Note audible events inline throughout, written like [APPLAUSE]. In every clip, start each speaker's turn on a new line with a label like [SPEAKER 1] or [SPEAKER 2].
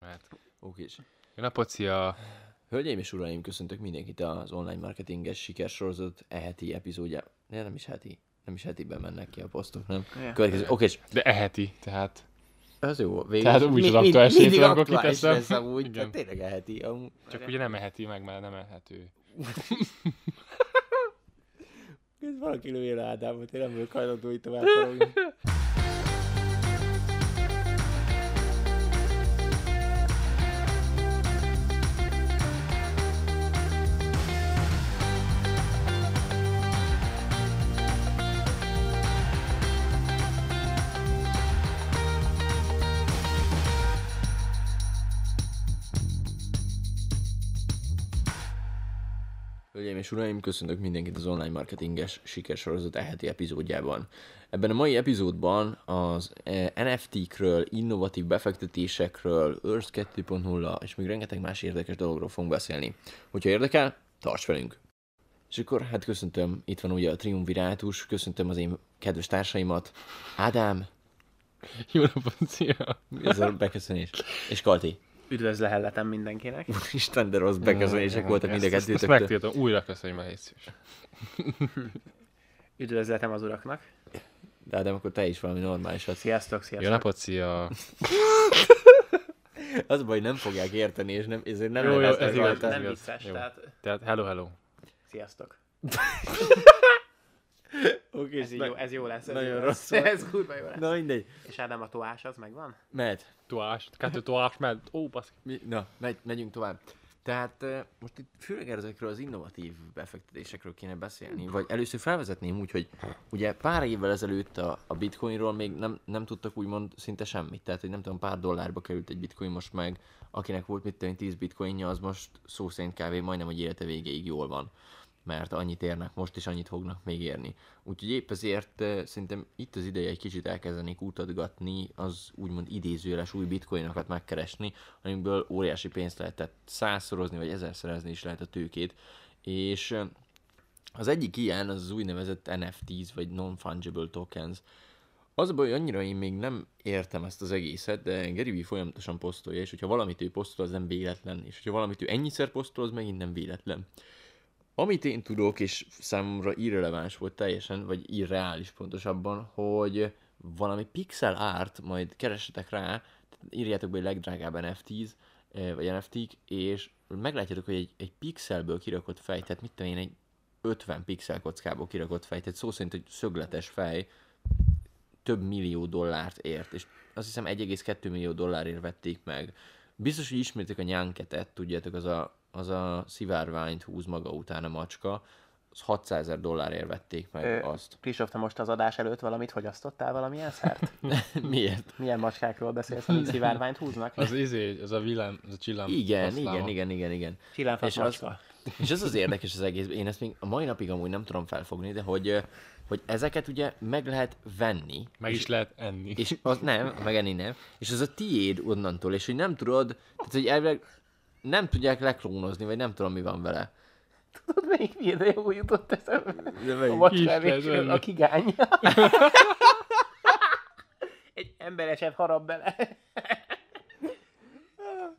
[SPEAKER 1] Robert.
[SPEAKER 2] Oké is.
[SPEAKER 3] Hát, Jó napot, szia!
[SPEAKER 2] Hölgyeim és uraim, köszöntök mindenkit az online marketinges sikersorozat eheti epizódja. Ne, nem is heti. Nem is hetiben mennek ki a posztok, nem?
[SPEAKER 1] Ja.
[SPEAKER 2] Következő. Oké, és
[SPEAKER 3] De eheti, tehát
[SPEAKER 2] az jó. Végül,
[SPEAKER 3] Tehát
[SPEAKER 2] is
[SPEAKER 3] úgy is
[SPEAKER 2] mi- mi-
[SPEAKER 3] aktuális
[SPEAKER 2] mindig
[SPEAKER 3] héten, akkor
[SPEAKER 2] aktuális
[SPEAKER 3] kiteszem.
[SPEAKER 2] lesz amúgy.
[SPEAKER 3] Igen.
[SPEAKER 2] Tehát tényleg eheti. Amúgy.
[SPEAKER 3] csak ugye nem eheti meg, mert nem ehető. [LAUGHS]
[SPEAKER 2] Ez valaki lője le Ádámot, én nem vagyok hajlandó, hogy [LAUGHS] tovább faragni. Hölgyeim és uraim, köszöntök mindenkit az online marketinges sikersorozat eheti epizódjában. Ebben a mai epizódban az eh, NFT-kről, innovatív befektetésekről, Earth 2.0 és még rengeteg más érdekes dologról fogunk beszélni. Hogyha érdekel, tarts velünk! És akkor hát köszöntöm, itt van ugye a triumvirátus, köszöntöm az én kedves társaimat, Ádám,
[SPEAKER 3] Jó napot, szia!
[SPEAKER 2] mi ez a beköszönés, és Kalti.
[SPEAKER 1] Üdvözlehetem mindenkinek.
[SPEAKER 2] Isten, de rossz beköszönések voltak mind a
[SPEAKER 3] Ezt- Ezt
[SPEAKER 2] kettőtöktől.
[SPEAKER 3] megtiltom, újra köszönöm a hétszűs.
[SPEAKER 1] Üdvözletem az uraknak.
[SPEAKER 2] De Ádám, akkor te is valami normálisat.
[SPEAKER 1] Sziasztok,
[SPEAKER 3] Jó
[SPEAKER 1] sziasztok.
[SPEAKER 3] napot, szia!
[SPEAKER 2] Az a baj, nem fogják érteni, és nem, ezért nem
[SPEAKER 3] Jó, jó,
[SPEAKER 2] neveznek
[SPEAKER 3] ez igaz,
[SPEAKER 2] rajta.
[SPEAKER 3] ez
[SPEAKER 1] Nem
[SPEAKER 3] igaz.
[SPEAKER 1] vicces,
[SPEAKER 3] Jó.
[SPEAKER 1] tehát
[SPEAKER 3] Tehát hello, hello.
[SPEAKER 1] sziasztok.
[SPEAKER 2] Oké,
[SPEAKER 1] Ez, jó, ez jó lesz. Ez
[SPEAKER 2] nagyon
[SPEAKER 1] jó lesz.
[SPEAKER 2] rossz volt.
[SPEAKER 1] [LAUGHS] Ez kurva jó lesz.
[SPEAKER 2] Na mindegy.
[SPEAKER 1] És Ádám a toás, az megvan?
[SPEAKER 2] Mehet.
[SPEAKER 3] Toás, kettő toás, mert ó, baszki.
[SPEAKER 2] Mi, na, megy, megyünk tovább. Tehát eh, most itt főleg ezekről az innovatív befektetésekről kéne beszélni, vagy először felvezetném úgy, hogy ugye pár évvel ezelőtt a, a bitcoinról még nem, nem tudtak úgymond szinte semmit, tehát hogy nem tudom, pár dollárba került egy bitcoin most meg, akinek volt mit tudom, én, 10 bitcoinja, az most szó szerint kávé majdnem, hogy élete végéig jól van. mert annyit érnek most, és annyit fognak még érni. Úgyhogy épp ezért eh, szerintem itt az ideje egy kicsit elkezdeni kutatgatni az úgymond idézőjeles új bitcoinokat megkeresni, amiből óriási pénzt lehetett százszorozni, vagy ezerszerezni is lehet a tőkét. És eh, az egyik ilyen az, az úgynevezett NFTs, vagy non-fungible tokens, az a baj, hogy annyira én még nem értem ezt az egészet, de Gary Vee folyamatosan posztolja, és hogyha valamit ő posztol, az nem véletlen, és hogyha valamit ő ennyiszer posztol, az megint nem véletlen. Amit én tudok, és számomra irreleváns volt teljesen, vagy irreális pontosabban, hogy valami pixel art, majd keressetek rá, írjátok be, hogy legdrágább NFTs, eh, vagy NFT-k, és meglátjátok, hogy egy, egy pixelből kirakott fej, tehát mit tudom én, egy 50 pixel kockából kirakott fej, tehát szó szerint egy szögletes fej, több millió dollárt ért, és azt hiszem 1,2 millió dollárért vették meg. Biztos, hogy ismertek a nyánketet, tudjátok, az a, az a szivárványt húz maga után a macska, az 600 ezer dollárért vették meg
[SPEAKER 1] Ö.
[SPEAKER 2] azt. [LAUGHS]
[SPEAKER 1] Kristóf, te most az adás előtt valamit fogyasztottál valamilyen [LAUGHS] szert?
[SPEAKER 2] Miért?
[SPEAKER 1] Milyen macskákról beszélsz, [LAUGHS] amik szivárványt húznak?
[SPEAKER 3] Az izé, az a villám, az a csillám.
[SPEAKER 2] Igen,
[SPEAKER 3] faszláma.
[SPEAKER 2] igen, igen, igen, igen.
[SPEAKER 1] Csillámfasz
[SPEAKER 2] És az-
[SPEAKER 1] Hát macska.
[SPEAKER 2] És ez az érdekes az egész, én ezt még a mai napig amúgy nem tudom felfogni, de hogy, ö, hogy ezeket ugye meg lehet venni,
[SPEAKER 3] Meg is lehet enni.
[SPEAKER 2] és az nem, meg enni nem, és az a tiéd onnantól, és hogy nem tudod, tehát hogy elvileg nem tudják leklónozni, vagy nem tudom mi van vele.
[SPEAKER 1] [LAUGHS] Tudod, melyik videó jutott eszembe?
[SPEAKER 2] De
[SPEAKER 1] A
[SPEAKER 2] meg...
[SPEAKER 1] macskávékről
[SPEAKER 3] Isten,
[SPEAKER 1] a kigány. [LAUGHS] Egy embereset harap bele.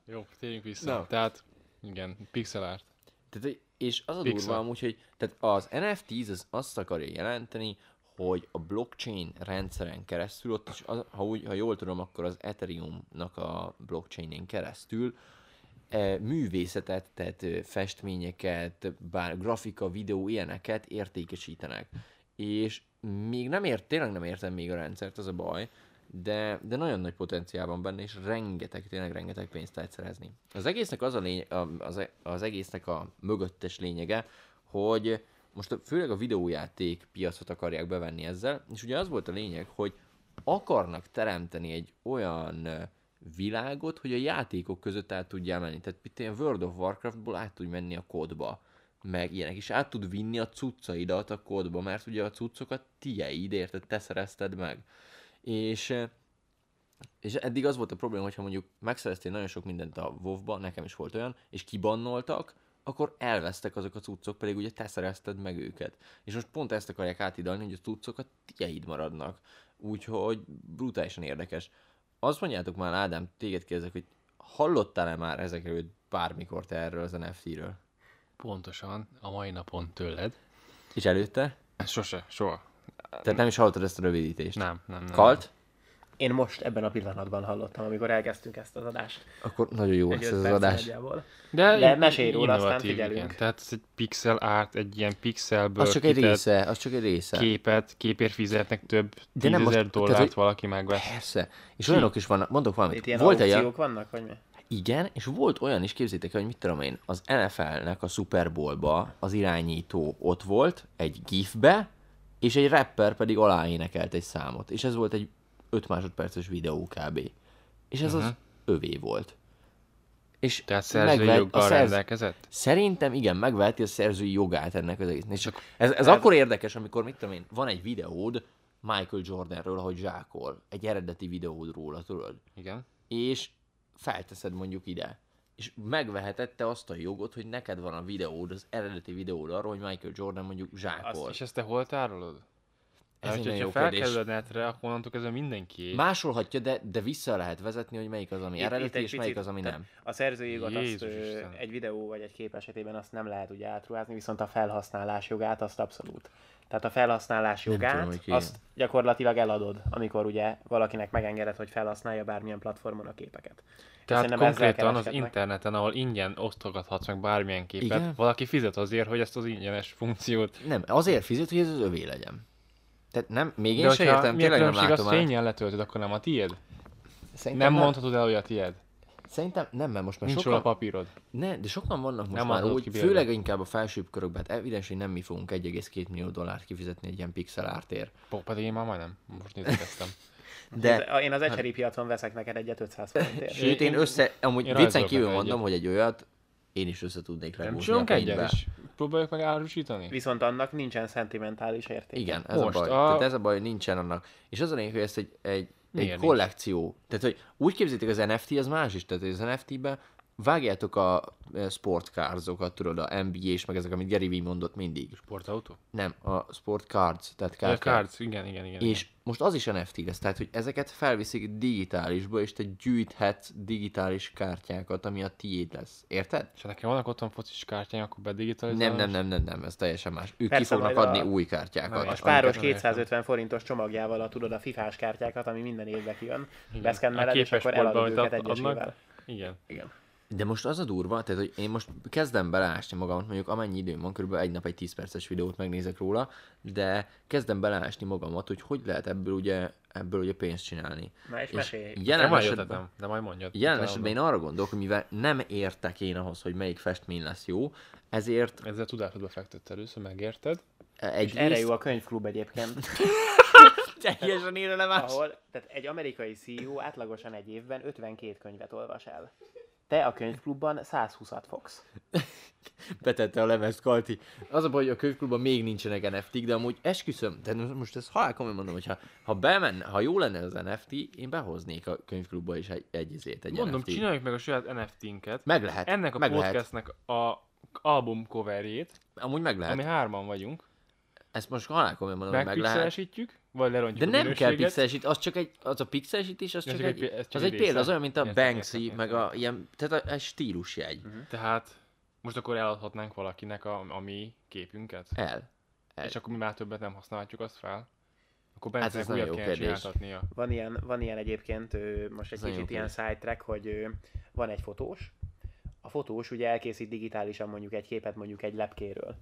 [SPEAKER 3] Jó, térjünk vissza.
[SPEAKER 2] Na.
[SPEAKER 3] Tehát, igen, pixel art.
[SPEAKER 2] tehát, hogy- és az a
[SPEAKER 3] Pixel.
[SPEAKER 2] durva amúgy, hogy tehát az NFT az azt akarja jelenteni, hogy a blockchain rendszeren keresztül, ott is, az, ha, úgy, ha jól tudom, akkor az Ethereum-nak a blockchainén keresztül e, művészetet, tehát e, festményeket, bár grafika, videó, ilyeneket értékesítenek. És még nem ért, tényleg nem értem még a rendszert, az a baj, de, de nagyon nagy potenciál van benne, és rengeteg, tényleg rengeteg pénzt lehet szerezni. Az egésznek az a lény, a- az, az egésznek a mögöttes lényege, hogy most a- főleg a videójáték piacot akarják bevenni ezzel, és ugye az volt a lényeg, hogy akarnak teremteni egy olyan ö, világot, hogy a játékok között át tudjál menni. Tehát itt ilyen World of Warcraftból át tudj menni a kódba, meg ilyenek, és át tud vinni a cuccaidat a kódba, mert ugye a cuccokat tieid, érted, te szerezted meg. És ö, és eddig az volt a probléma, hogyha mondjuk megszereztél nagyon sok mindent a WoW-ba, nekem is volt olyan, és kibannoltak, akkor elvesztek azok a cuccok, pedig ugye te szerezted meg őket. És most pont ezt akarják átidalni, hogy a cuccok a tieid maradnak. Úgyhogy brutálisan érdekes. Azt mondjátok már, Ádám, téged kérdezek, hogy hallottál-e már ezekről bármikor te erről az NFT-ről?
[SPEAKER 3] Pontosan a mai napon tőled.
[SPEAKER 2] És előtte?
[SPEAKER 3] Sose, soha.
[SPEAKER 2] Tehát nem is hallottad ezt a rövidítést?
[SPEAKER 3] Nem, nem, nem.
[SPEAKER 2] Kalt?
[SPEAKER 1] Én most ebben a pillanatban hallottam, amikor elkezdtünk ezt az adást.
[SPEAKER 2] Akkor nagyon jó
[SPEAKER 1] Egy
[SPEAKER 2] lesz
[SPEAKER 1] öt
[SPEAKER 2] ez az
[SPEAKER 1] perc
[SPEAKER 2] adás.
[SPEAKER 1] nagyjából.
[SPEAKER 3] De,
[SPEAKER 1] De
[SPEAKER 3] in-
[SPEAKER 1] mesélj róla, aztán
[SPEAKER 3] innovatív,
[SPEAKER 1] figyelünk.
[SPEAKER 3] Igen. Tehát ez egy pixel art, egy ilyen pixelből
[SPEAKER 2] Az csak egy
[SPEAKER 3] kitett
[SPEAKER 2] része, az csak egy része.
[SPEAKER 3] képet, képért fizetnek több
[SPEAKER 2] De nem
[SPEAKER 3] tízezer
[SPEAKER 2] most-
[SPEAKER 3] dollárt
[SPEAKER 2] tehát, hogy-
[SPEAKER 3] valaki megvesz.
[SPEAKER 2] Persze. És olyanok is vannak, mondok
[SPEAKER 1] Itt
[SPEAKER 2] valamit.
[SPEAKER 1] ilyen
[SPEAKER 2] Volt egy,
[SPEAKER 1] aukciók vannak, vagy mi?
[SPEAKER 2] Igen, és volt olyan is, képzétek el, hogy mit tudom én, az NFL-nek a Super Bowl-ba az irányító ott volt, egy gifbe, és egy rapper pedig aláénekelt egy számot. És ez volt egy 5 másodperces videó kb. És ez uh-huh. az övé volt. És
[SPEAKER 3] Mhm. Tehát
[SPEAKER 2] megvet-
[SPEAKER 3] szerzői
[SPEAKER 2] a
[SPEAKER 3] joggal
[SPEAKER 2] szerz-
[SPEAKER 3] rendelkezett?
[SPEAKER 2] Szerintem igen, megveheti a szerzői jogát ennek az egésznek. És ez, ez akkor érdekes, amikor mit tudom én, van egy videód Michael Jordanről, ahogy zsákol, egy eredeti videód róla, tudod?
[SPEAKER 3] Igen.
[SPEAKER 2] és felteszed mondjuk ide. És megveheted te azt a jogot, hogy neked van a videód, az eredeti videód arról, hogy Michael Jordan mondjuk
[SPEAKER 3] Azt,
[SPEAKER 2] zsákol.
[SPEAKER 3] és ezt te hol tárolod? Ez
[SPEAKER 2] Ez egy
[SPEAKER 3] hogyha
[SPEAKER 2] nagyon jó
[SPEAKER 3] jó
[SPEAKER 2] kérdés.
[SPEAKER 3] felkerül a netre, akkor onnantól kezdve mindenki.
[SPEAKER 2] Másolhatja, de, de vissza lehet vezetni, hogy melyik az, ami
[SPEAKER 1] Itt-
[SPEAKER 2] eredeti,
[SPEAKER 1] itt egy
[SPEAKER 2] és melyik
[SPEAKER 1] picit-
[SPEAKER 2] az, ami
[SPEAKER 1] tehát
[SPEAKER 2] nem.
[SPEAKER 1] A szerzői jogot azt,
[SPEAKER 3] Jézus
[SPEAKER 1] ö,
[SPEAKER 3] Isten.
[SPEAKER 1] egy videó vagy egy kép esetében azt nem lehet ugye átruházni, viszont a felhasználás jogát azt abszolút. Tehát a felhasználás jogát
[SPEAKER 2] tudom, hogy ki.
[SPEAKER 1] azt gyakorlatilag eladod, amikor ugye valakinek megengedett, hogy felhasználja bármilyen platformon a képeket. És
[SPEAKER 3] Tehát
[SPEAKER 1] szerintem ezzel
[SPEAKER 3] konkrétan az
[SPEAKER 1] kereskednek.
[SPEAKER 3] interneten, ahol ingyen osztogathatsz meg bármilyen képet,
[SPEAKER 2] Igen.
[SPEAKER 3] valaki fizet azért, hogy ezt az ingyenes funkciót.
[SPEAKER 2] Nem, azért fizet, hogy ez az övé legyen. Tehát nem, még én
[SPEAKER 3] De
[SPEAKER 2] sem
[SPEAKER 3] hogyha
[SPEAKER 2] értem,
[SPEAKER 3] mi a
[SPEAKER 2] tényleg nem
[SPEAKER 3] különbség,
[SPEAKER 2] látom
[SPEAKER 3] azt fényjel letöltöd, akkor nem a tiéd?
[SPEAKER 2] Szerintem
[SPEAKER 3] Nem mondhatod el, hogy a tiéd.
[SPEAKER 2] Szerintem nem, mert most már
[SPEAKER 3] Nincs
[SPEAKER 2] sokan...
[SPEAKER 3] róla papírod.
[SPEAKER 2] Ne, de sokan vannak most
[SPEAKER 3] Nem
[SPEAKER 2] már
[SPEAKER 3] adott
[SPEAKER 2] úgy,
[SPEAKER 3] ki bérbe.
[SPEAKER 2] főleg inkább a felsőbb körökben, hát evidens, hogy nem mi fogunk 1,2 millió dollárt kifizetni egy ilyen pixel ártért.
[SPEAKER 3] Pó, pedig én már majdnem. Most nézegettem.
[SPEAKER 2] De hát-
[SPEAKER 1] Ez- Én az ecseri piacon veszek neked egyet
[SPEAKER 2] [LAUGHS]
[SPEAKER 1] 500 forintért.
[SPEAKER 2] Sőt, én
[SPEAKER 3] Én-
[SPEAKER 2] össze, amúgy
[SPEAKER 3] én
[SPEAKER 2] viccen
[SPEAKER 3] rajzolok
[SPEAKER 2] kívül
[SPEAKER 3] vele
[SPEAKER 2] mondom, hogy egy olyat én is össze
[SPEAKER 3] [LAUGHS]
[SPEAKER 2] tudnék
[SPEAKER 3] Nem
[SPEAKER 2] ragózni a
[SPEAKER 3] csinálunk
[SPEAKER 2] pénzbe.
[SPEAKER 3] egyet, és próbáljuk meg árusítani.
[SPEAKER 1] Viszont annak nincsen szentimentális érték.
[SPEAKER 2] Igen, ez
[SPEAKER 3] Most
[SPEAKER 2] a baj.
[SPEAKER 3] a-
[SPEAKER 2] Tehát ez a baj, hogy nincsen annak. És az a lényeg, hogy ezt egy, egy, egy
[SPEAKER 3] Miért
[SPEAKER 2] kollekció. Tehát, hogy úgy képzétek, az NFT az más is. Tehát, hogy az NFT-ben vágjátok a e, sportcardsokat, tudod, a NBA és meg ezek, amit Gary Vee mondott mindig.
[SPEAKER 3] Sportautó?
[SPEAKER 2] Nem, a sportcards, tehát
[SPEAKER 3] Kár,
[SPEAKER 2] kártyák.
[SPEAKER 3] Cards, igen, igen, igen.
[SPEAKER 2] És most az is NFT lesz, tehát hogy ezeket felviszik digitálisba, és te gyűjthetsz digitális kártyákat, ami a tiéd lesz. Érted?
[SPEAKER 3] És ha nekem vannak otthon focis kártyáim, akkor bedigitalizálom.
[SPEAKER 2] Nem, nem, nem, nem, nem, ez teljesen más. Ők
[SPEAKER 1] Persze,
[SPEAKER 2] ki fognak
[SPEAKER 1] majd a-
[SPEAKER 2] adni új kártyákat.
[SPEAKER 3] Nem,
[SPEAKER 1] A
[SPEAKER 2] amiket-
[SPEAKER 1] spáros
[SPEAKER 3] Amikor-
[SPEAKER 1] 250 forintos csomagjával a tudod a fifás kártyákat, ami minden évben kijön.
[SPEAKER 3] A
[SPEAKER 1] Beszkenmeled, és
[SPEAKER 3] képes
[SPEAKER 1] akkor
[SPEAKER 3] boltba,
[SPEAKER 1] eladod
[SPEAKER 3] amit
[SPEAKER 1] őket
[SPEAKER 3] ad- adnak.
[SPEAKER 1] egyesével.
[SPEAKER 3] Igen.
[SPEAKER 1] Igen.
[SPEAKER 2] De most az a durva, tehát hogy én most kezdem beleásni magamat, mondjuk amennyi időm van, körülbelül egy nap egy 10 perces videót megnézek róla, de kezdem beleásni magamat, hogy hogy lehet ebből ugye, ebből ugye pénzt csinálni.
[SPEAKER 1] Na és mesélj.
[SPEAKER 3] Nem
[SPEAKER 2] Jelen
[SPEAKER 3] majd
[SPEAKER 2] esetben,
[SPEAKER 3] jöttetem, de majd mondjad.
[SPEAKER 2] jelen
[SPEAKER 3] utána
[SPEAKER 2] esetben én arra gondolok, hogy mivel nem értek én ahhoz, hogy melyik festmény lesz jó, ezért
[SPEAKER 3] mondom. Ezzel tudásodba fektetted először, megérted.
[SPEAKER 2] egy
[SPEAKER 1] Erre jó a könyvklub egyébként,
[SPEAKER 3] [LAUGHS]
[SPEAKER 2] teljesen irreleváns.
[SPEAKER 1] ahol tehát egy amerikai CEO átlagosan egy évben 52 könyvet olvas el. Te a könyvklubban 120-at fogsz.
[SPEAKER 2] betette a lemezt Kalti. Az a baj, hogy a könyvklubban még nincsenek NFT-k, de amúgy esküszöm, de most ezt halál komolyan mondom, hogy ha, ha bemenne, ha jó lenne az NFT, én behoznék a könyvklubba is egy, egy, izét, egy
[SPEAKER 3] Mondom,
[SPEAKER 2] NFT.
[SPEAKER 3] csináljuk meg a saját NFT-nket.
[SPEAKER 2] Meg lehet.
[SPEAKER 3] Ennek a
[SPEAKER 2] meg lehet.
[SPEAKER 3] podcastnek a album coverjét,
[SPEAKER 2] Amúgy meg lehet.
[SPEAKER 3] ami hárman vagyunk,
[SPEAKER 2] Ezt most halál komolyan mondom, hogy Hát- meg lehet.
[SPEAKER 3] megpixelesítjük, vagy lerontjuk
[SPEAKER 2] De
[SPEAKER 3] a
[SPEAKER 2] nem kell
[SPEAKER 3] minőséget.
[SPEAKER 2] pixelsít, az csak egy, az a pixelsítés, az
[SPEAKER 3] Ez
[SPEAKER 2] csak,
[SPEAKER 3] csak
[SPEAKER 2] egy,
[SPEAKER 3] egy pi- ez csak
[SPEAKER 2] az
[SPEAKER 3] egy
[SPEAKER 2] egy példa,
[SPEAKER 3] része.
[SPEAKER 2] az olyan, mint a
[SPEAKER 3] Értem,
[SPEAKER 2] Banksy,
[SPEAKER 3] értem,
[SPEAKER 2] meg a ilyen, tehát a, egy
[SPEAKER 3] Hm.
[SPEAKER 2] stílusjegy.
[SPEAKER 3] Tehát most akkor eladhatnánk valakinek a, a mi képünket,
[SPEAKER 2] El. El.
[SPEAKER 3] és akkor mi már többet nem használhatjuk azt fel. Akkor
[SPEAKER 2] ez
[SPEAKER 3] Bencenek hát
[SPEAKER 2] nagyon
[SPEAKER 3] újat
[SPEAKER 2] jó
[SPEAKER 3] kell [LAUGHS]
[SPEAKER 2] kérdés.
[SPEAKER 3] csináltatnia.
[SPEAKER 1] Van ilyen, van ilyen egyébként, ö, most egy
[SPEAKER 2] Ez nagyon
[SPEAKER 1] kicsit
[SPEAKER 2] jó
[SPEAKER 1] ilyen sidetrack, hogy ö, van egy fotós, a fotós ugye elkészít digitálisan mondjuk egy képet mondjuk egy lepkéről.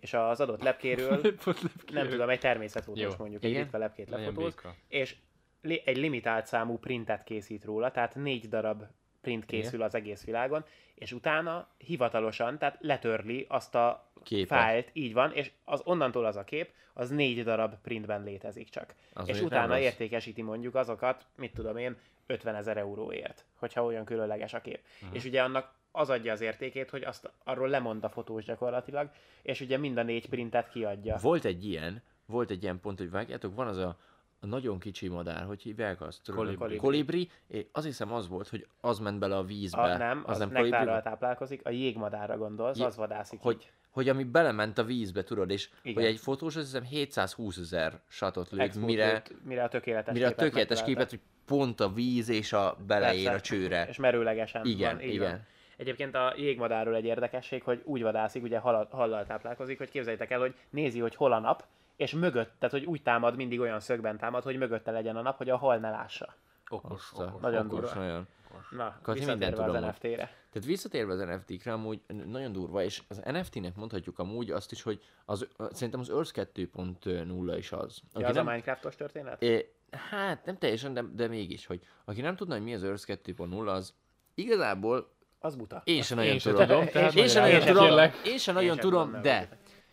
[SPEAKER 1] És az adott lepkéről,
[SPEAKER 3] [LAUGHS]
[SPEAKER 1] nem tudom, egy természetfotós
[SPEAKER 3] Jó.
[SPEAKER 1] mondjuk, egy
[SPEAKER 2] Igen?
[SPEAKER 1] ritka lepkét
[SPEAKER 3] Legyen
[SPEAKER 1] lefotóz,
[SPEAKER 3] béka.
[SPEAKER 1] és li- egy limitált számú printet készít róla, tehát négy darab print készül az egész világon, és utána hivatalosan, tehát letörli azt a
[SPEAKER 2] Képet.
[SPEAKER 1] fájlt, így van, és az onnantól az a kép, az négy darab printben létezik csak.
[SPEAKER 2] Az
[SPEAKER 1] és
[SPEAKER 2] mondjuk nem
[SPEAKER 1] utána
[SPEAKER 2] rossz.
[SPEAKER 1] értékesíti mondjuk azokat, mit tudom én, 50 ezer euróért, hogyha olyan különleges a kép. És ugye annak az adja az értékét, hogy azt arról lemond a fotós gyakorlatilag, és ugye mind a négy printet kiadja.
[SPEAKER 2] Volt egy ilyen, volt egy ilyen pont, hogy vágjátok, van az a, a nagyon kicsi madár, hogy hívják azt? Tudod,
[SPEAKER 3] Kolibri.
[SPEAKER 2] a Kolibri. É, Azt hiszem az volt, hogy az ment bele a vízbe.
[SPEAKER 1] A, nem, az, az
[SPEAKER 2] kolibri
[SPEAKER 1] nektárral
[SPEAKER 2] volt?
[SPEAKER 1] táplálkozik, a jégmadárra gondolsz,
[SPEAKER 2] Jé-
[SPEAKER 1] az vadászik.
[SPEAKER 2] Hogy,
[SPEAKER 1] így.
[SPEAKER 2] hogy ami belement a vízbe, tudod, és Igen.
[SPEAKER 1] Igen.
[SPEAKER 2] hogy egy fotós, azt hiszem 720 ezer satot lőtt,
[SPEAKER 1] Exportot,
[SPEAKER 2] mire,
[SPEAKER 1] mire a tökéletes
[SPEAKER 2] mire a
[SPEAKER 1] képet
[SPEAKER 2] tökéletes
[SPEAKER 1] megtalálták.
[SPEAKER 2] képet, hogy pont a víz és a beleér a
[SPEAKER 1] Persze.
[SPEAKER 2] csőre.
[SPEAKER 1] És merőlegesen
[SPEAKER 2] Igen,
[SPEAKER 1] van. így
[SPEAKER 2] igen.
[SPEAKER 1] Van. Egyébként a jégmadárról egy érdekesség, hogy úgy vadászik, ugye hal, hallal táplálkozik, hogy képzeljétek el, hogy nézi, hogy hol a nap, és mögött, tehát hogy úgy támad, mindig olyan szögben támad, hogy mögötte legyen a nap, hogy a hal ne lássa.
[SPEAKER 3] Okos,
[SPEAKER 2] Azt a-
[SPEAKER 3] okos.
[SPEAKER 1] Nagyon
[SPEAKER 2] okos,
[SPEAKER 1] durva.
[SPEAKER 2] nagyon.
[SPEAKER 1] Na,
[SPEAKER 2] Kati, mindent
[SPEAKER 1] visszatérve az
[SPEAKER 2] tudom most.
[SPEAKER 1] NFT-re.
[SPEAKER 2] Tehát visszatérve az NFT-kre, amúgy n- nagyon durva, és az NFT-nek mondhatjuk amúgy azt is, hogy az, szerintem az Earth 2.0 is az. Aki
[SPEAKER 1] Ja, az
[SPEAKER 2] nem,
[SPEAKER 1] a Minecraftos történet?
[SPEAKER 2] É, hát nem teljesen, de, de mégis, hogy aki nem tudna, hogy mi az Earth 2.0, az igazából
[SPEAKER 1] az buta.
[SPEAKER 2] én sem nagyon
[SPEAKER 3] Én sem
[SPEAKER 2] tudom.
[SPEAKER 3] tudom, tehát
[SPEAKER 2] Én sem nagyon
[SPEAKER 1] Én sem
[SPEAKER 2] tudom,
[SPEAKER 3] kérlek.
[SPEAKER 2] én sem nagyon
[SPEAKER 1] sem
[SPEAKER 2] tudom,
[SPEAKER 1] tudom,
[SPEAKER 2] de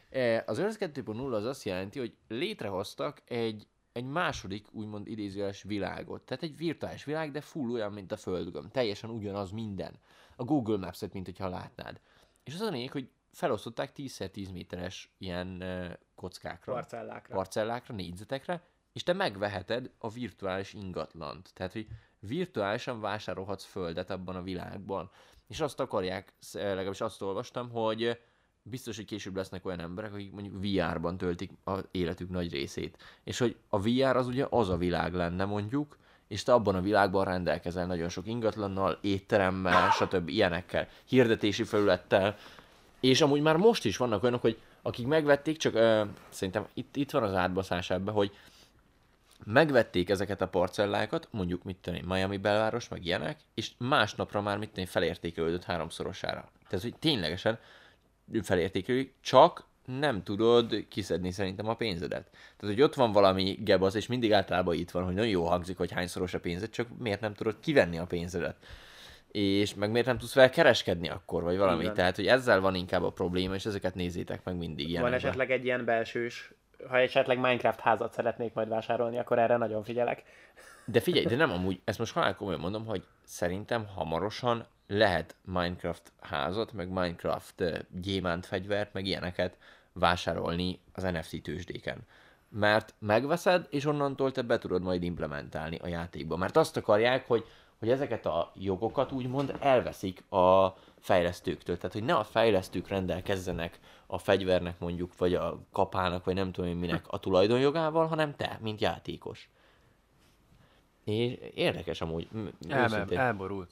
[SPEAKER 2] eh, az Earth 2.0 az azt jelenti, hogy létrehoztak egy, egy második, úgymond idézőjeles világot. Tehát egy virtuális világ, de full olyan, mint a Földgömb. Teljesen ugyanaz minden. A Google Maps-et, mint hogyha látnád. És az a lényeg, hogy felosztották 10x10 méteres ilyen eh, kockákra
[SPEAKER 1] Parcellákra.
[SPEAKER 2] parcellákra, négyzetekre, és te megveheted a virtuális ingatlant. Tehát, hogy virtuálisan vásárolhatsz földet abban a világban. És azt akarják, sz- legalábbis azt olvastam, hogy biztos, hogy később lesznek olyan emberek, akik mondjuk VR-ban töltik az életük nagy részét. És hogy a VR az ugye az a világ lenne mondjuk, és te abban a világban rendelkezel nagyon sok ingatlannal, étteremmel, stb. ilyenekkel, hirdetési felülettel, és amúgy már most is vannak olyanok, hogy akik megvették, csak ö, szerintem itt, itt van az átbaszás ebbe, hogy megvették ezeket a parcellákat, mondjuk mit tudom én, Miami belváros, meg ilyenek, és másnapra már mit tudom én, felértékelődött háromszorosára. Tehát, hogy ténylegesen felértékelődik, csak nem tudod kiszedni szerintem a pénzedet. Tehát, hogy ott van valami gebasz, és mindig általában itt van, hogy nagyon jó hangzik, hogy hányszoros a pénzed, csak miért nem tudod kivenni a pénzedet? És meg miért nem tudsz vele kereskedni akkor, vagy valami.
[SPEAKER 1] Igen.
[SPEAKER 2] Tehát, hogy ezzel van inkább a probléma, és ezeket nézzétek meg mindig ilyen.
[SPEAKER 1] Van esetleg egy ilyen belsős, ha esetleg Minecraft házat szeretnék majd vásárolni, akkor erre nagyon figyelek.
[SPEAKER 2] De figyelj, de nem amúgy, ezt most halál komolyan mondom, hogy szerintem hamarosan lehet Minecraft házat, meg Minecraft eh, gyémánt fegyvert, meg ilyeneket vásárolni az NFT tőzsdéken. Mert megveszed, és onnantól te be tudod majd implementálni a játékba. Mert azt akarják, hogy, hogy ezeket a jogokat úgymond elveszik a fejlesztőktől. Tehát, hogy ne a fejlesztők rendelkezzenek a fegyvernek mondjuk, vagy a kapának, vagy nem tudom én minek a tulajdonjogával, hanem te, mint játékos. És érdekes amúgy. m-
[SPEAKER 3] Elme-
[SPEAKER 2] őszintén.
[SPEAKER 3] elborult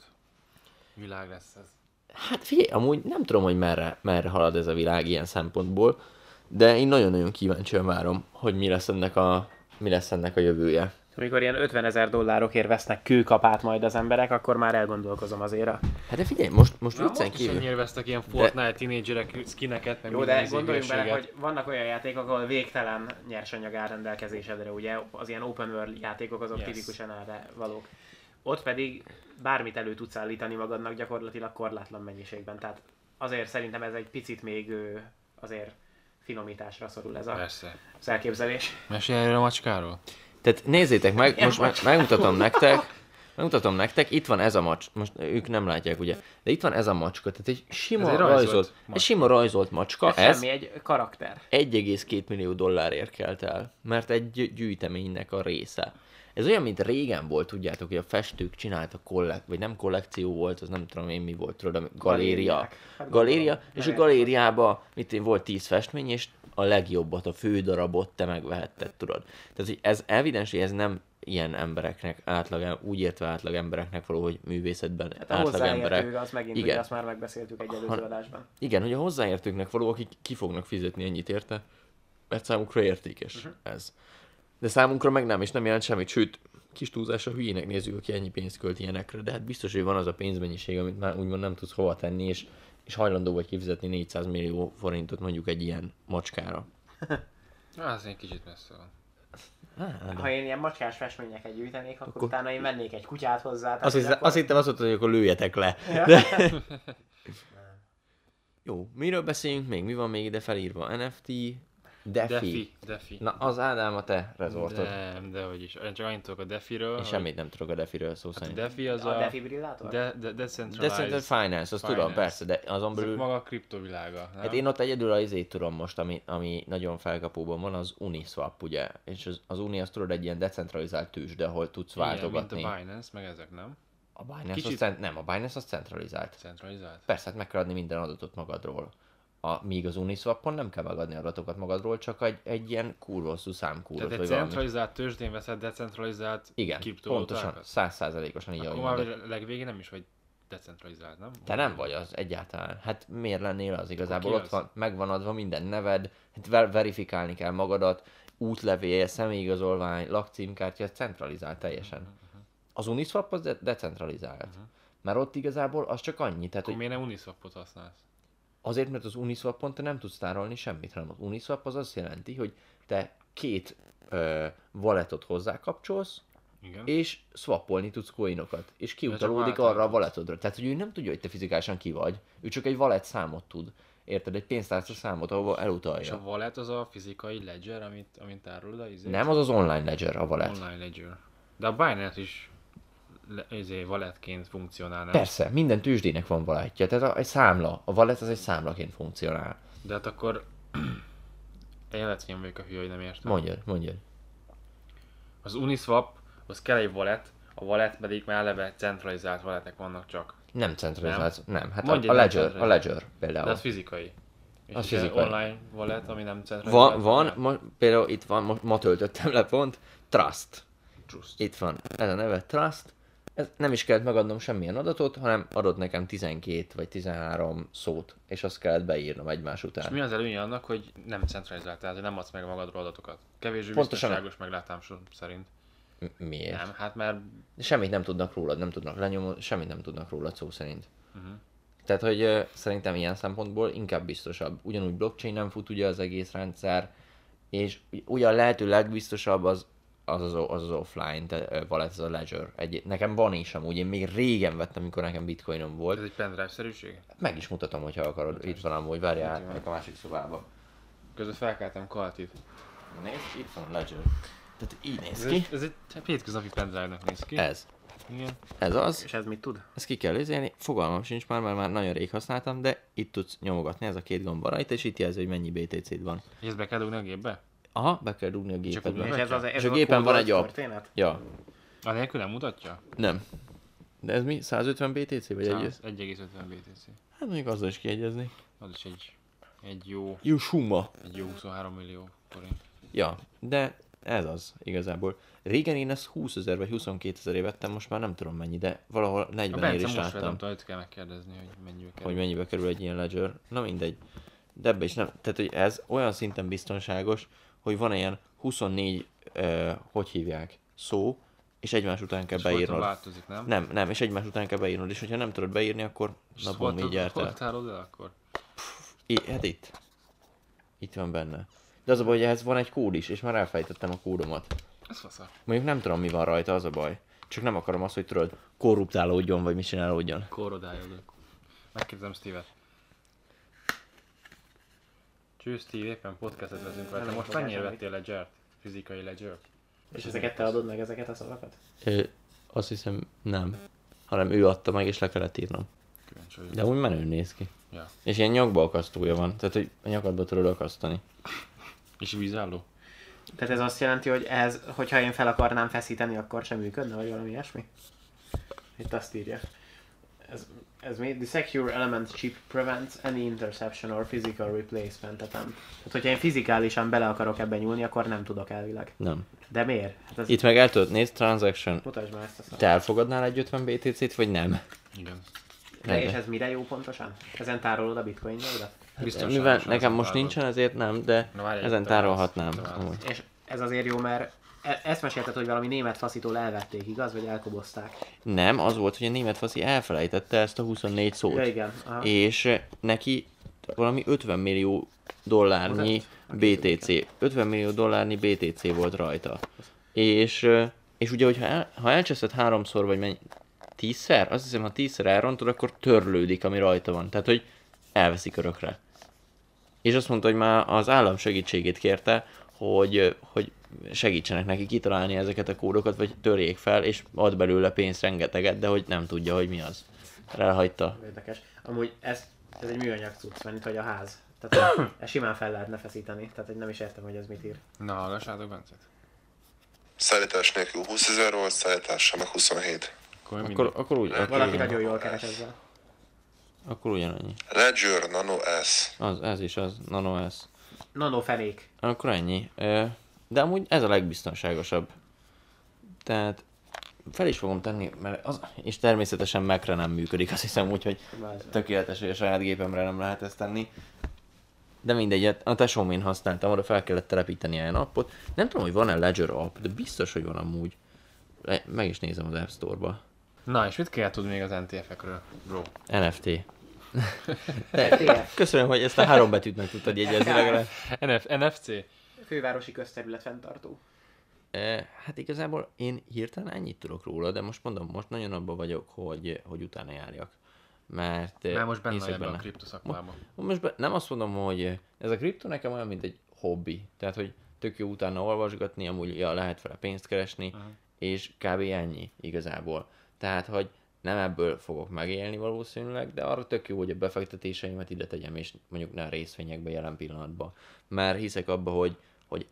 [SPEAKER 3] világ lesz ez.
[SPEAKER 2] Hát figyelj, amúgy nem tudom, hogy merre, merre halad ez a világ ilyen szempontból, de én nagyon-nagyon kíváncsian várom, hogy mi lesz ennek a, mi lesz ennek a jövője.
[SPEAKER 1] Amikor ilyen 50 ezer dollárokért vesznek kőkapát majd az emberek, akkor már elgondolkozom azért a
[SPEAKER 2] Hát de figyelj, most, most
[SPEAKER 3] Na,
[SPEAKER 2] viccen
[SPEAKER 3] most is
[SPEAKER 2] kívül.
[SPEAKER 3] elnyilveztek ilyen Fortnite tínédzserek skineket, meg
[SPEAKER 1] Jó,
[SPEAKER 3] minden
[SPEAKER 1] de
[SPEAKER 3] izé
[SPEAKER 1] gondoljunk bele,
[SPEAKER 3] hülyeséget.
[SPEAKER 1] hogy vannak olyan játékok, ahol végtelen nyersanyag áll rendelkezésedre, ugye az ilyen open world játékok azok
[SPEAKER 3] Yes.
[SPEAKER 1] yes. tipikusan erre valók. Ott pedig bármit elő tudsz állítani magadnak gyakorlatilag korlátlan mennyiségben, tehát azért szerintem ez egy picit még ö, azért finomításra szorul ez a,
[SPEAKER 3] Persze.
[SPEAKER 1] az elképzelés.
[SPEAKER 3] Mesélj erről a macskáról?
[SPEAKER 2] Tehát nézzétek meg, most meg,
[SPEAKER 3] [LAUGHS]
[SPEAKER 2] megmutatom nektek, megmutatom nektek, itt van ez a macs, most ők nem látják ugye, de itt van ez a macska, tehát egy sima
[SPEAKER 3] Ez egy
[SPEAKER 2] egy
[SPEAKER 3] rajzolt
[SPEAKER 2] rajzolt, rajzolt
[SPEAKER 3] macska.
[SPEAKER 2] egy sima rajzolt macska,
[SPEAKER 1] Ez
[SPEAKER 2] ez
[SPEAKER 1] semmi, egy karakter.
[SPEAKER 2] 1,2 millió dollárért kelt el, mert egy gy- gyűjteménynek a része. Ez olyan, mint régen volt, tudjátok, hogy a festők csináltak kollek, vagy nem kollekció volt, az nem tudom én mi volt, tudod, ami- galéria.
[SPEAKER 1] Galériák. Hát
[SPEAKER 2] Galéria,
[SPEAKER 1] gondolom.
[SPEAKER 2] és a
[SPEAKER 1] Lehet.
[SPEAKER 2] galériába, mit én, volt 10 festmény, és a legjobbat, a fődarabot te megvehetted, tudod. Tehát, hogy ez evidens, hogy ez nem ilyen embereknek, átlag, úgy értve átlag embereknek való, hogy művészetben
[SPEAKER 1] Hát a
[SPEAKER 2] átlag emberek.
[SPEAKER 1] hozzáértő az megint,
[SPEAKER 2] Igen.
[SPEAKER 1] ugye azt már megbeszéltük egy előző adásban.
[SPEAKER 2] Igen, hogy a hozzáértőknek való, akik ki fognak fizetni ennyit érte, mert számukra értékes uh-huh. ez. De számunkra meg nem, és nem jelent semmit, sőt, kis túlzásra hülyének nézzük, aki ennyi pénzt költ ilyenekre, de hát biztos, hogy van az a pénzmennyiség, amit már úgymond nem tudsz hova tenni, és, és hajlandó vagy kifizetni 400 millió forintot mondjuk egy ilyen macskára.
[SPEAKER 3] Na, az egy kicsit messze van.
[SPEAKER 1] Ha én ilyen macskás festményeket gyűjtenék, akkor,
[SPEAKER 2] Akkor-
[SPEAKER 1] akkor utána én vennék egy kutyát hozzá. tehát
[SPEAKER 2] Azt,
[SPEAKER 1] hogy
[SPEAKER 2] hiszem,
[SPEAKER 1] akkor-
[SPEAKER 2] azt hittem azt mondtad, hogy akkor lőjetek le. De... Jó, miről beszéljünk még? Mi van még ide felírva? NFT, Defi. Defi.
[SPEAKER 3] Defi, Defi.
[SPEAKER 2] Na, az Ádám a te rezortod.
[SPEAKER 3] Nem, de vagyis. Én csak annyit tudok a Defiről.
[SPEAKER 2] Én
[SPEAKER 3] hogy-
[SPEAKER 2] semmit nem tudok a Defiről szó
[SPEAKER 3] Hát a
[SPEAKER 2] szerint.
[SPEAKER 3] Defi az
[SPEAKER 1] A
[SPEAKER 3] a...
[SPEAKER 1] defibrillátor?
[SPEAKER 3] De, de, decentralized.
[SPEAKER 2] De szerintem finance, azt tudom,
[SPEAKER 3] Finance.
[SPEAKER 2] persze, de azon
[SPEAKER 3] Ezek
[SPEAKER 2] belül...
[SPEAKER 3] maga a kriptovilága, nem?
[SPEAKER 2] Hát én ott egyedül az izét tudom most, ami, ami nagyon felkapóban van, az Uniswap, ugye? És az, az Uni, azt tudod, egy ilyen decentralizált tőzsde, ahol tudsz
[SPEAKER 3] Igen,
[SPEAKER 2] váltogatni.
[SPEAKER 3] mint a Binance, meg ezek, nem?
[SPEAKER 2] a Binance,
[SPEAKER 3] Kicsit-
[SPEAKER 2] az cent... nem, a Binance az centralizált.
[SPEAKER 3] Centralizált.
[SPEAKER 2] Persze, hát meg kell adni minden adatot magadról. A, míg az Uniswapon nem kell megadni adatokat magadról, csak egy, egy ilyen kurvosszú számkúrot,
[SPEAKER 3] Tehát
[SPEAKER 2] vagy
[SPEAKER 3] egy
[SPEAKER 2] valami.
[SPEAKER 3] centralizált tőzsdén veszed decentralizált
[SPEAKER 2] Igen, pontosan,
[SPEAKER 3] kriptovalutákat?
[SPEAKER 2] százszázalékosan így, ahogy
[SPEAKER 3] Akkor már
[SPEAKER 2] mondod.
[SPEAKER 3] a legvégén nem is vagy decentralizált, nem?
[SPEAKER 2] Te nem vagy az egyáltalán. Hát miért lennél az igazából?
[SPEAKER 3] ki
[SPEAKER 2] Ott
[SPEAKER 3] az?
[SPEAKER 2] van, megvan adva minden neved, hát ver- verifikálni kell magadat, útlevél, személyigazolvány, lakcímkártya, ez centralizált teljesen. Az Uniswap az de- decentralizált. Mert ott igazából az csak annyi, tehát
[SPEAKER 3] Mhm. Akkor
[SPEAKER 2] hogy
[SPEAKER 3] miért nem Uniswapot használsz?
[SPEAKER 2] azért, mert az Uniswapon te nem tudsz tárolni semmit, hanem az Uniswap az azt jelenti, hogy te két ö, walletot hozzákapcsolsz,
[SPEAKER 3] Igen.
[SPEAKER 2] és swappolni tudsz coinokat, és kiutalódik
[SPEAKER 3] váltani
[SPEAKER 2] arra a valetodra. Tehát, hogy ő nem tudja, hogy te fizikálisan ki vagy, ő csak egy valet számot tud. Érted? Egy pénztárca számot, ahova
[SPEAKER 3] És a
[SPEAKER 2] elutalja.
[SPEAKER 3] wallet az a fizikai ledger, amit, amit tárolod a izé?
[SPEAKER 2] Nem, az az online ledger a valet.
[SPEAKER 3] Online ledger. De a Binance is le, izé, walletként funkcionál, nem?
[SPEAKER 2] Persze, minden tőzsdének van valetje, tehát a, egy számla. A valet az egy számlaként funkcionál.
[SPEAKER 3] De hát akkor... [CLEARS THROAT] Én lehet, hogy én vagyok a hülye, hogy nem értem.
[SPEAKER 2] Mondjad, mondjad.
[SPEAKER 3] Az Uniswap, az kell egy wallet, a wallet pedig már eleve centralizált walletek vannak csak.
[SPEAKER 2] Nem centralizált, nem. Hát
[SPEAKER 3] Mondj egy
[SPEAKER 2] a, a,
[SPEAKER 3] nem
[SPEAKER 2] ledger, a
[SPEAKER 3] centralizált.
[SPEAKER 2] ledger
[SPEAKER 3] De
[SPEAKER 2] például.
[SPEAKER 3] az fizikai. És
[SPEAKER 2] Az
[SPEAKER 3] ugye
[SPEAKER 2] fizikai.
[SPEAKER 3] online wallet, ami nem centralizált.
[SPEAKER 2] Van, van ma, például itt van, ma, ma töltöttem le pont, Trust.
[SPEAKER 3] Trust.
[SPEAKER 2] Itt van, ez a neve Trust. Ez, nem is kellett megadnom semmilyen adatot, hanem adott nekem 12 vagy 13 szót, és azt kellett beírnom
[SPEAKER 3] És
[SPEAKER 2] egymás után.
[SPEAKER 3] mi az előnye annak, hogy nem centralizált, tehát hogy nem adsz meg magadról adatokat? Kevésbé
[SPEAKER 2] Pontosan.
[SPEAKER 3] biztonságos meglátásom szerint.
[SPEAKER 2] M- Miért?
[SPEAKER 3] Nem, hát mert
[SPEAKER 2] Semmit nem tudnak rólad, nem tudnak lenyomni, semmit nem tudnak rólad szó szerint. Tehát, hogy ö, szerintem ilyen szempontból inkább biztosabb. Ugyanúgy blockchain nem fut ugye az egész rendszer, és ugy- ugyan lehető legbiztosabb az az az, o- az, az offline, te, ö, wallet, az a ledger. Egy, nekem van is amúgy, én még régen vettem, amikor nekem bitcoinom volt.
[SPEAKER 3] ez egy pendrive-szerűség.
[SPEAKER 2] Meg is mutatom, hogyha akarod. Itt van amúgy, várjál, átmegyek a másik szobába.
[SPEAKER 3] Közben felkeltem Kaltit.
[SPEAKER 2] Nézd, itt van a ledger. Tehát így néz
[SPEAKER 3] Ez,
[SPEAKER 2] ki.
[SPEAKER 3] egy- ez egy hát hétköznapi pendrive-nak néz ki.
[SPEAKER 2] Ez.
[SPEAKER 3] Igen.
[SPEAKER 2] Ez az.
[SPEAKER 1] És ez mit tud?
[SPEAKER 2] Ezt ki kell izélni. Fogalmam sincs már, mert már nagyon rég használtam, de itt tudsz nyomogatni, ez a két gomb van rajta, és itt jelzi, hogy mennyi BTC-d van.
[SPEAKER 3] És ezt be kell dugni a gépbe?
[SPEAKER 2] Aha, be kell dugni a
[SPEAKER 3] úgy
[SPEAKER 1] És
[SPEAKER 2] gépedbe.
[SPEAKER 3] mutatja?
[SPEAKER 1] ez az, ez
[SPEAKER 2] És a
[SPEAKER 1] az
[SPEAKER 2] gépen van
[SPEAKER 1] kódolt
[SPEAKER 2] egy app.
[SPEAKER 1] történet?
[SPEAKER 2] Ja,
[SPEAKER 3] A nélkül nem mutatja?
[SPEAKER 2] nem. De ez mi? 150 BTC vagy egy?
[SPEAKER 3] 1,50 BTC.
[SPEAKER 2] Hát mondjuk azzal is kiegyezni.
[SPEAKER 3] Az is egy, egy jó,
[SPEAKER 2] Jó suma.
[SPEAKER 3] egy jó 23 millió forint.
[SPEAKER 2] Ja, de ez az igazából. Régen én ezt 20 ezer vagy 22 ezer vettem, most már nem tudom mennyi, de valahol
[SPEAKER 3] A
[SPEAKER 2] 40 ér
[SPEAKER 3] Bence
[SPEAKER 2] is
[SPEAKER 3] most
[SPEAKER 2] láttam.
[SPEAKER 3] vettem, tudom, őt kell megkérdezni, hogy mennyibe kerül.
[SPEAKER 2] hogy mennyibe kerül egy ilyen ledger. Na mindegy. De ebbe is nem. Tehát, hogy ez olyan szinten biztonságos, hogy van ilyen 24, eh, hogy hívják, szó, és egymás után kell
[SPEAKER 3] És folyton
[SPEAKER 2] beírnod.
[SPEAKER 3] változik, nem?
[SPEAKER 2] Nem, nem, és egymás után kell beírnod, és hogyha nem tudod beírni, akkor
[SPEAKER 3] És
[SPEAKER 2] na
[SPEAKER 3] hol
[SPEAKER 2] bom,
[SPEAKER 3] tud-
[SPEAKER 2] így járt
[SPEAKER 3] Hol
[SPEAKER 2] el.
[SPEAKER 3] tárolod el akkor?
[SPEAKER 2] I- hát itt. Itt van benne. De az a baj, hogy ehhez van egy kód is, és már elfejtettem a kódomat.
[SPEAKER 3] Ez fasza.
[SPEAKER 2] Mondjuk nem tudom, mi van rajta, az a baj. Csak nem akarom azt, hogy tudod, korruptálódjon, vagy mi csinálódjon.
[SPEAKER 3] Korodályodok. Megkérdezem Steve-et. Cső Steve, éppen podcastet vezünk vele. Te
[SPEAKER 1] Nem
[SPEAKER 3] most
[SPEAKER 1] fogás
[SPEAKER 3] mennyire
[SPEAKER 1] semmit.
[SPEAKER 3] vettél ledger Fizikai ledger
[SPEAKER 1] És ezeket te adod meg, ezeket a szavakat?
[SPEAKER 2] Ö, azt hiszem nem. Hanem ő adta meg, és le kellett írnom.
[SPEAKER 3] Kíváncsi vagyok.
[SPEAKER 2] De úgy menő néz ki.
[SPEAKER 3] Ja.
[SPEAKER 2] És ilyen nyakba akasztója van, tehát hogy a nyakadba tudod akasztani.
[SPEAKER 3] És vízálló?
[SPEAKER 1] Tehát ez azt jelenti, hogy ez, hogyha én fel akarnám feszíteni, akkor sem működne, vagy valami ilyesmi? Itt azt írja. Ez, ez mi? The secure element chip prevents any interception or physical replacement attempt. Tehát, hogyha én fizikálisan bele akarok ebben nyúlni, akkor nem tudok elvileg.
[SPEAKER 2] Nem.
[SPEAKER 1] De miért? Hát ez,
[SPEAKER 2] Itt meg el tudod nézni, transaction.
[SPEAKER 1] Mutasd már ezt a szavakat.
[SPEAKER 2] Te elfogadnál egy 50 BTC-t, vagy nem?
[SPEAKER 3] Igen.
[SPEAKER 1] De és ez mire jó pontosan? Ezen tárolod a bitcoin jaidat?
[SPEAKER 3] Biztonságos
[SPEAKER 2] Mivel
[SPEAKER 3] az
[SPEAKER 2] nekem
[SPEAKER 3] a
[SPEAKER 2] most
[SPEAKER 3] válasz.
[SPEAKER 2] nincsen, ezért nem, de
[SPEAKER 3] Na, várj,
[SPEAKER 2] ezen
[SPEAKER 3] itt a válasz,
[SPEAKER 2] tárolhatnám.
[SPEAKER 3] itt a válasz.
[SPEAKER 2] amúgy.
[SPEAKER 1] És ez azért jó, mert e- ezt mesélted, hogy valami német faszitól elvették, igaz? Vagy elkobozták?
[SPEAKER 2] Nem, az volt, hogy a német faszi elfelejtette ezt a 24 szót.
[SPEAKER 1] Ja, igen. Aha.
[SPEAKER 2] és eh, neki valami 50 millió dollárnyi BTC, 50 millió dollárnyi BTC volt rajta. És, ö, és ugye, hogyha el, ha elcseszed háromszor, vagy mennyi, tízszer, azt hiszem, ha tízszer elrontod, akkor törlődik, ami rajta van. Tehát, hogy elveszik örökre. És azt mondta, hogy már az állam segítségét kérte, hogy, ö, hogy segítsenek neki kitalálni ezeket a kódokat, vagy törjék fel, és ad belőle pénzt rengeteget, de hogy nem tudja, hogy mi az. Elhagyta.
[SPEAKER 1] Érdekes. Amúgy ez, ez egy műanyag cucc, mert itt vagy a ház. [COUGHS] Tehát ezt simán fel lehetne feszíteni, tehát hogy nem is értem, hogy ez mit ír.
[SPEAKER 3] Na, hallgassátok Bencet.
[SPEAKER 4] Szállítás nélkül 20 ezer volt, szállítással meg 27.
[SPEAKER 3] Akkor, akkor...
[SPEAKER 2] Akkor, akkor úgy.
[SPEAKER 1] Valaki
[SPEAKER 2] Akkor,
[SPEAKER 1] nagyon jól keres ezzel.
[SPEAKER 2] Akkor ugyanannyi.
[SPEAKER 4] Ledger Nano S.
[SPEAKER 2] Az, ez is az, nano S.
[SPEAKER 1] Nanofenék.
[SPEAKER 2] Akkor ennyi. Ö, De amúgy ez a legbiztonságosabb. Tehát fel is fogom tenni, mert az, és természetesen Mac-re nem működik, azt hiszem, úgyhogy tökéletes, hogy a saját gépemre nem lehet ezt tenni. De mindegy, hát a tesómén használtam, arra fel kellett telepíteni ilyen appot. Nem tudom, hogy van-e Ledger app, de biztos, hogy van amúgy. Le- Meg is nézem az App Store-ba.
[SPEAKER 3] Na, és mit kell tudni még az NTF-ekről, bro?
[SPEAKER 2] NFT. De, köszönöm, hogy ezt a három betűt meg tudtad jegyezni legalább.
[SPEAKER 3] NF- NFC?
[SPEAKER 1] Fővárosi közterület fenntartó.
[SPEAKER 2] E, Hát igazából én hirtelen ennyit tudok róla, de most mondom, most nagyon abban vagyok, hogy, hogy utána járjak. Mert eh,
[SPEAKER 3] Már most benne
[SPEAKER 2] hiszek
[SPEAKER 3] vagy ebben a kriptoszakmában.
[SPEAKER 2] Most be, nem azt mondom, hogy ez a kriptó nekem olyan, mint egy hobbi. Tehát, hogy tök jó utána olvasgatni, amúgy ja, lehet vele pénzt keresni, uh-huh. és kb. ennyi igazából. Tehát, hogy nem ebből fogok megélni valószínűleg, de arra tök jó, hogy a befektetéseimet ide tegyem, és mondjuk ne a részvényekbe jelen pillanatban. Mert hiszek abba, hogy, hogy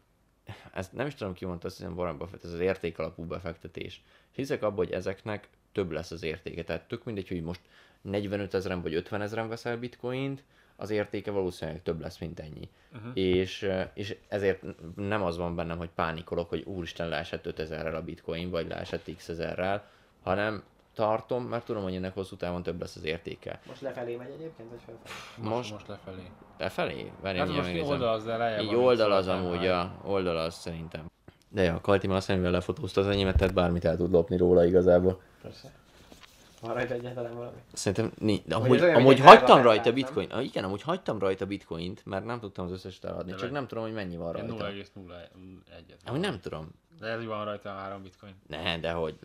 [SPEAKER 2] ezt nem is tudom, ki mondta, azt hiszem Warren Buffett, ez az értékalapú befektetés. És hiszek abban, hogy ezeknek több lesz az értéke. Tehát tök mindegy, hogy most 45 ezeren vagy 50 ezeren veszel bitcoint, az értéke valószínűleg több lesz, mint ennyi. Uh-huh. És, eh, és ezért n- nem az van bennem, hogy pánikolok, hogy úristen, leesett 5000-rel a bitcoin, vagy leesett x ezerrel, hanem tartom, mert tudom, hogy ennek hosszú távon több lesz az értéke.
[SPEAKER 1] Most lefelé megy egyébként, vagy felfelé?
[SPEAKER 2] Most,
[SPEAKER 3] Most, most lefelé.
[SPEAKER 2] lefelé? Várj,
[SPEAKER 3] Hát
[SPEAKER 2] mindjárt
[SPEAKER 3] most
[SPEAKER 2] megnézem.
[SPEAKER 3] oldal az, de lejjebb.
[SPEAKER 2] Így
[SPEAKER 3] van, szóval
[SPEAKER 2] oldal az
[SPEAKER 3] szerintem
[SPEAKER 2] amúgy,
[SPEAKER 3] már.
[SPEAKER 2] a, oldal az szerintem. De ja, a Kalti már szemével lefotózta az enyémet, tehát bármit el tud lopni róla igazából.
[SPEAKER 1] Persze. Van rajta egyáltalán valami?
[SPEAKER 2] Szerintem nincs. De
[SPEAKER 1] Vagy
[SPEAKER 2] amúgy,
[SPEAKER 1] az olyan,
[SPEAKER 2] amúgy
[SPEAKER 1] mint egy
[SPEAKER 2] hagytam
[SPEAKER 1] Árva
[SPEAKER 2] rajta
[SPEAKER 1] Petrát,
[SPEAKER 2] bitcoin. Ah, igen, amúgy hagytam rajta bitcoint, mert nem tudtam az összeset eladni. Csak
[SPEAKER 3] meg-
[SPEAKER 2] nem tudom, hogy mennyi van
[SPEAKER 3] Ilyen
[SPEAKER 2] rajta.
[SPEAKER 3] 0,01-et.
[SPEAKER 2] Amúgy nem tudom.
[SPEAKER 3] De ez van rajta a három bitcoin.
[SPEAKER 2] Ne, de hogy...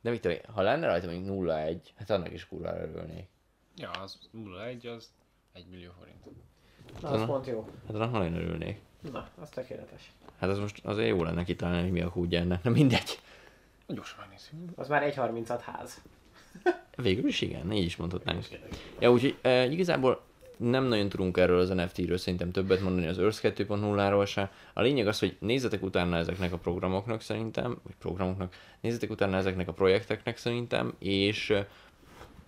[SPEAKER 2] De mit tudom, én, ha lenne rajta mondjuk 0,1, hát annak is kurvára örülnék.
[SPEAKER 3] Ja, az 0,1 az 1 millió forint.
[SPEAKER 1] Na, az pont jó.
[SPEAKER 2] Hát annak nagyon örülnék.
[SPEAKER 1] Na, az tökéletes.
[SPEAKER 2] Hát az most azért jó lenne kitalálni, hogy mi a kúdja ennek. Na mindegy.
[SPEAKER 3] Gyorsan megnézzük.
[SPEAKER 1] Az már 1.36 ház.
[SPEAKER 2] Végül is igen, így is mondhatnánk. Ja, úgyhogy e, igazából nem nagyon tudunk erről az NFT-ről szerintem többet mondani az Earth 2.0-ról se. A lényeg az, hogy nézzetek utána ezeknek a programoknak szerintem, vagy programoknak, nézzetek utána ezeknek a projekteknek szerintem, és e,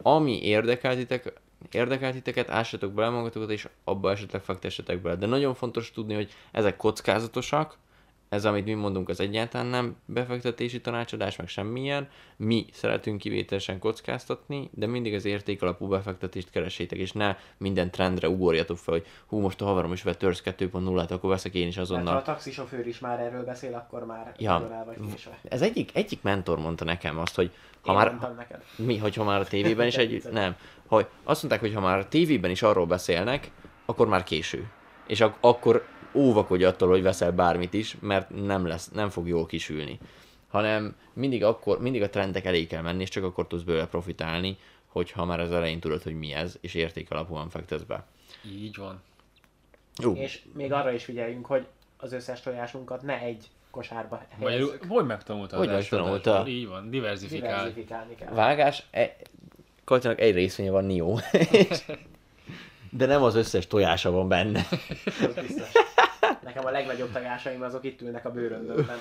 [SPEAKER 2] ami érdekel titek, érdekel titeket, ássatok bele magatokat, és abba esetleg fektessetek bele. De nagyon fontos tudni, hogy ezek kockázatosak, ez, amit mi mondunk, az egyáltalán nem befektetési tanácsadás, meg semmilyen. Mi szeretünk kivételesen kockáztatni, de mindig az értékalapú befektetést keresétek, és ne minden trendre ugorjatok fel, hogy hú, most a haverom is vett Törsz 2.0-át, akkor veszek én is
[SPEAKER 1] Mert ha a
[SPEAKER 2] azonnal.
[SPEAKER 1] taxisofőr is már erről beszél, akkor már
[SPEAKER 2] Ja.
[SPEAKER 1] nagyon el vagy késve.
[SPEAKER 2] Ez egyik, egyik mentor mondta nekem azt, hogy ha
[SPEAKER 1] Én
[SPEAKER 2] már,
[SPEAKER 1] mondtam neked.
[SPEAKER 2] mi, hogyha már a tévében is
[SPEAKER 1] De
[SPEAKER 2] egy...
[SPEAKER 1] vicces.
[SPEAKER 2] Nem. Hogy azt mondták, hogy ha már a tévében is arról beszélnek, akkor már késő. És ak- akkor óvakodj attól, hogy veszel bármit is, mert nem lesz, nem fog jól kisülni. Hanem mindig, akkor, mindig a trendek elé kell menni, és csak akkor tudsz bőle profitálni, hogyha már az elején tudod, hogy mi ez, és érték alapúan fektetsz be.
[SPEAKER 3] Így van.
[SPEAKER 2] Jó,
[SPEAKER 1] És még arra is figyeljünk, hogy az összes tojásunkat ne egy kosárba helyezzük.
[SPEAKER 3] Magyarul, hogy megtanulta
[SPEAKER 2] Hogy
[SPEAKER 3] az első
[SPEAKER 2] megtanulta?
[SPEAKER 3] adásból? Így van, diversifikál.
[SPEAKER 1] Diversifikálni kell.
[SPEAKER 2] vágás, e- Kaltinak egy részvénye van Nió. De nem az összes tojása van benne.
[SPEAKER 1] Az biztos. Nekem a legnagyobb tagásaim azok itt ülnek a
[SPEAKER 2] [LAUGHS]
[SPEAKER 1] bőröndömben.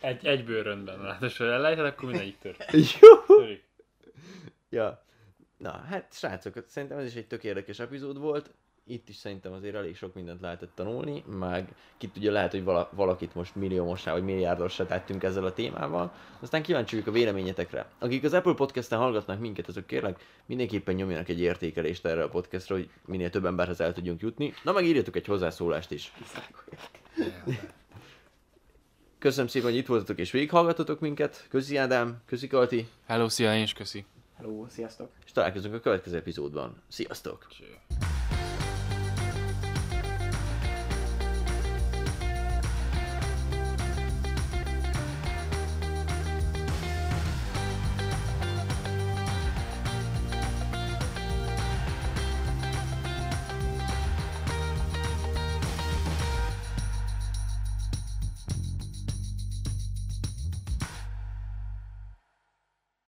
[SPEAKER 3] Egy, egy bőrönben. Ráadásul elejted, akkor mindegyik tör.
[SPEAKER 2] Jó.
[SPEAKER 3] törik.
[SPEAKER 2] Ja. Na, hát srácok, szerintem ez is egy tök érdekes epizód volt. Itt is szerintem azért elég sok mindent lehetett tanulni, meg ki tudja, lehet, hogy vala, valakit most milliómosá vagy milliárdossá tettünk ezzel a témával. Aztán kíváncsi vagyok a véleményetekre. Akik az Apple Podcast-en hallgatnak minket, azok kérlek mindenképpen nyomjanak egy értékelést erre a podcastra, hogy minél több emberhez el tudjunk jutni. Na, meg írjatok egy hozzászólást is. Köszönöm szépen, hogy itt voltatok és végighallgatotok minket. Köszi Ádám, köszi Kalti,
[SPEAKER 3] Hello, szia, én is köszi.
[SPEAKER 1] Hello, sziasztok!
[SPEAKER 2] és találkozunk a következő epizódban. Sziasztok!
[SPEAKER 3] Cső.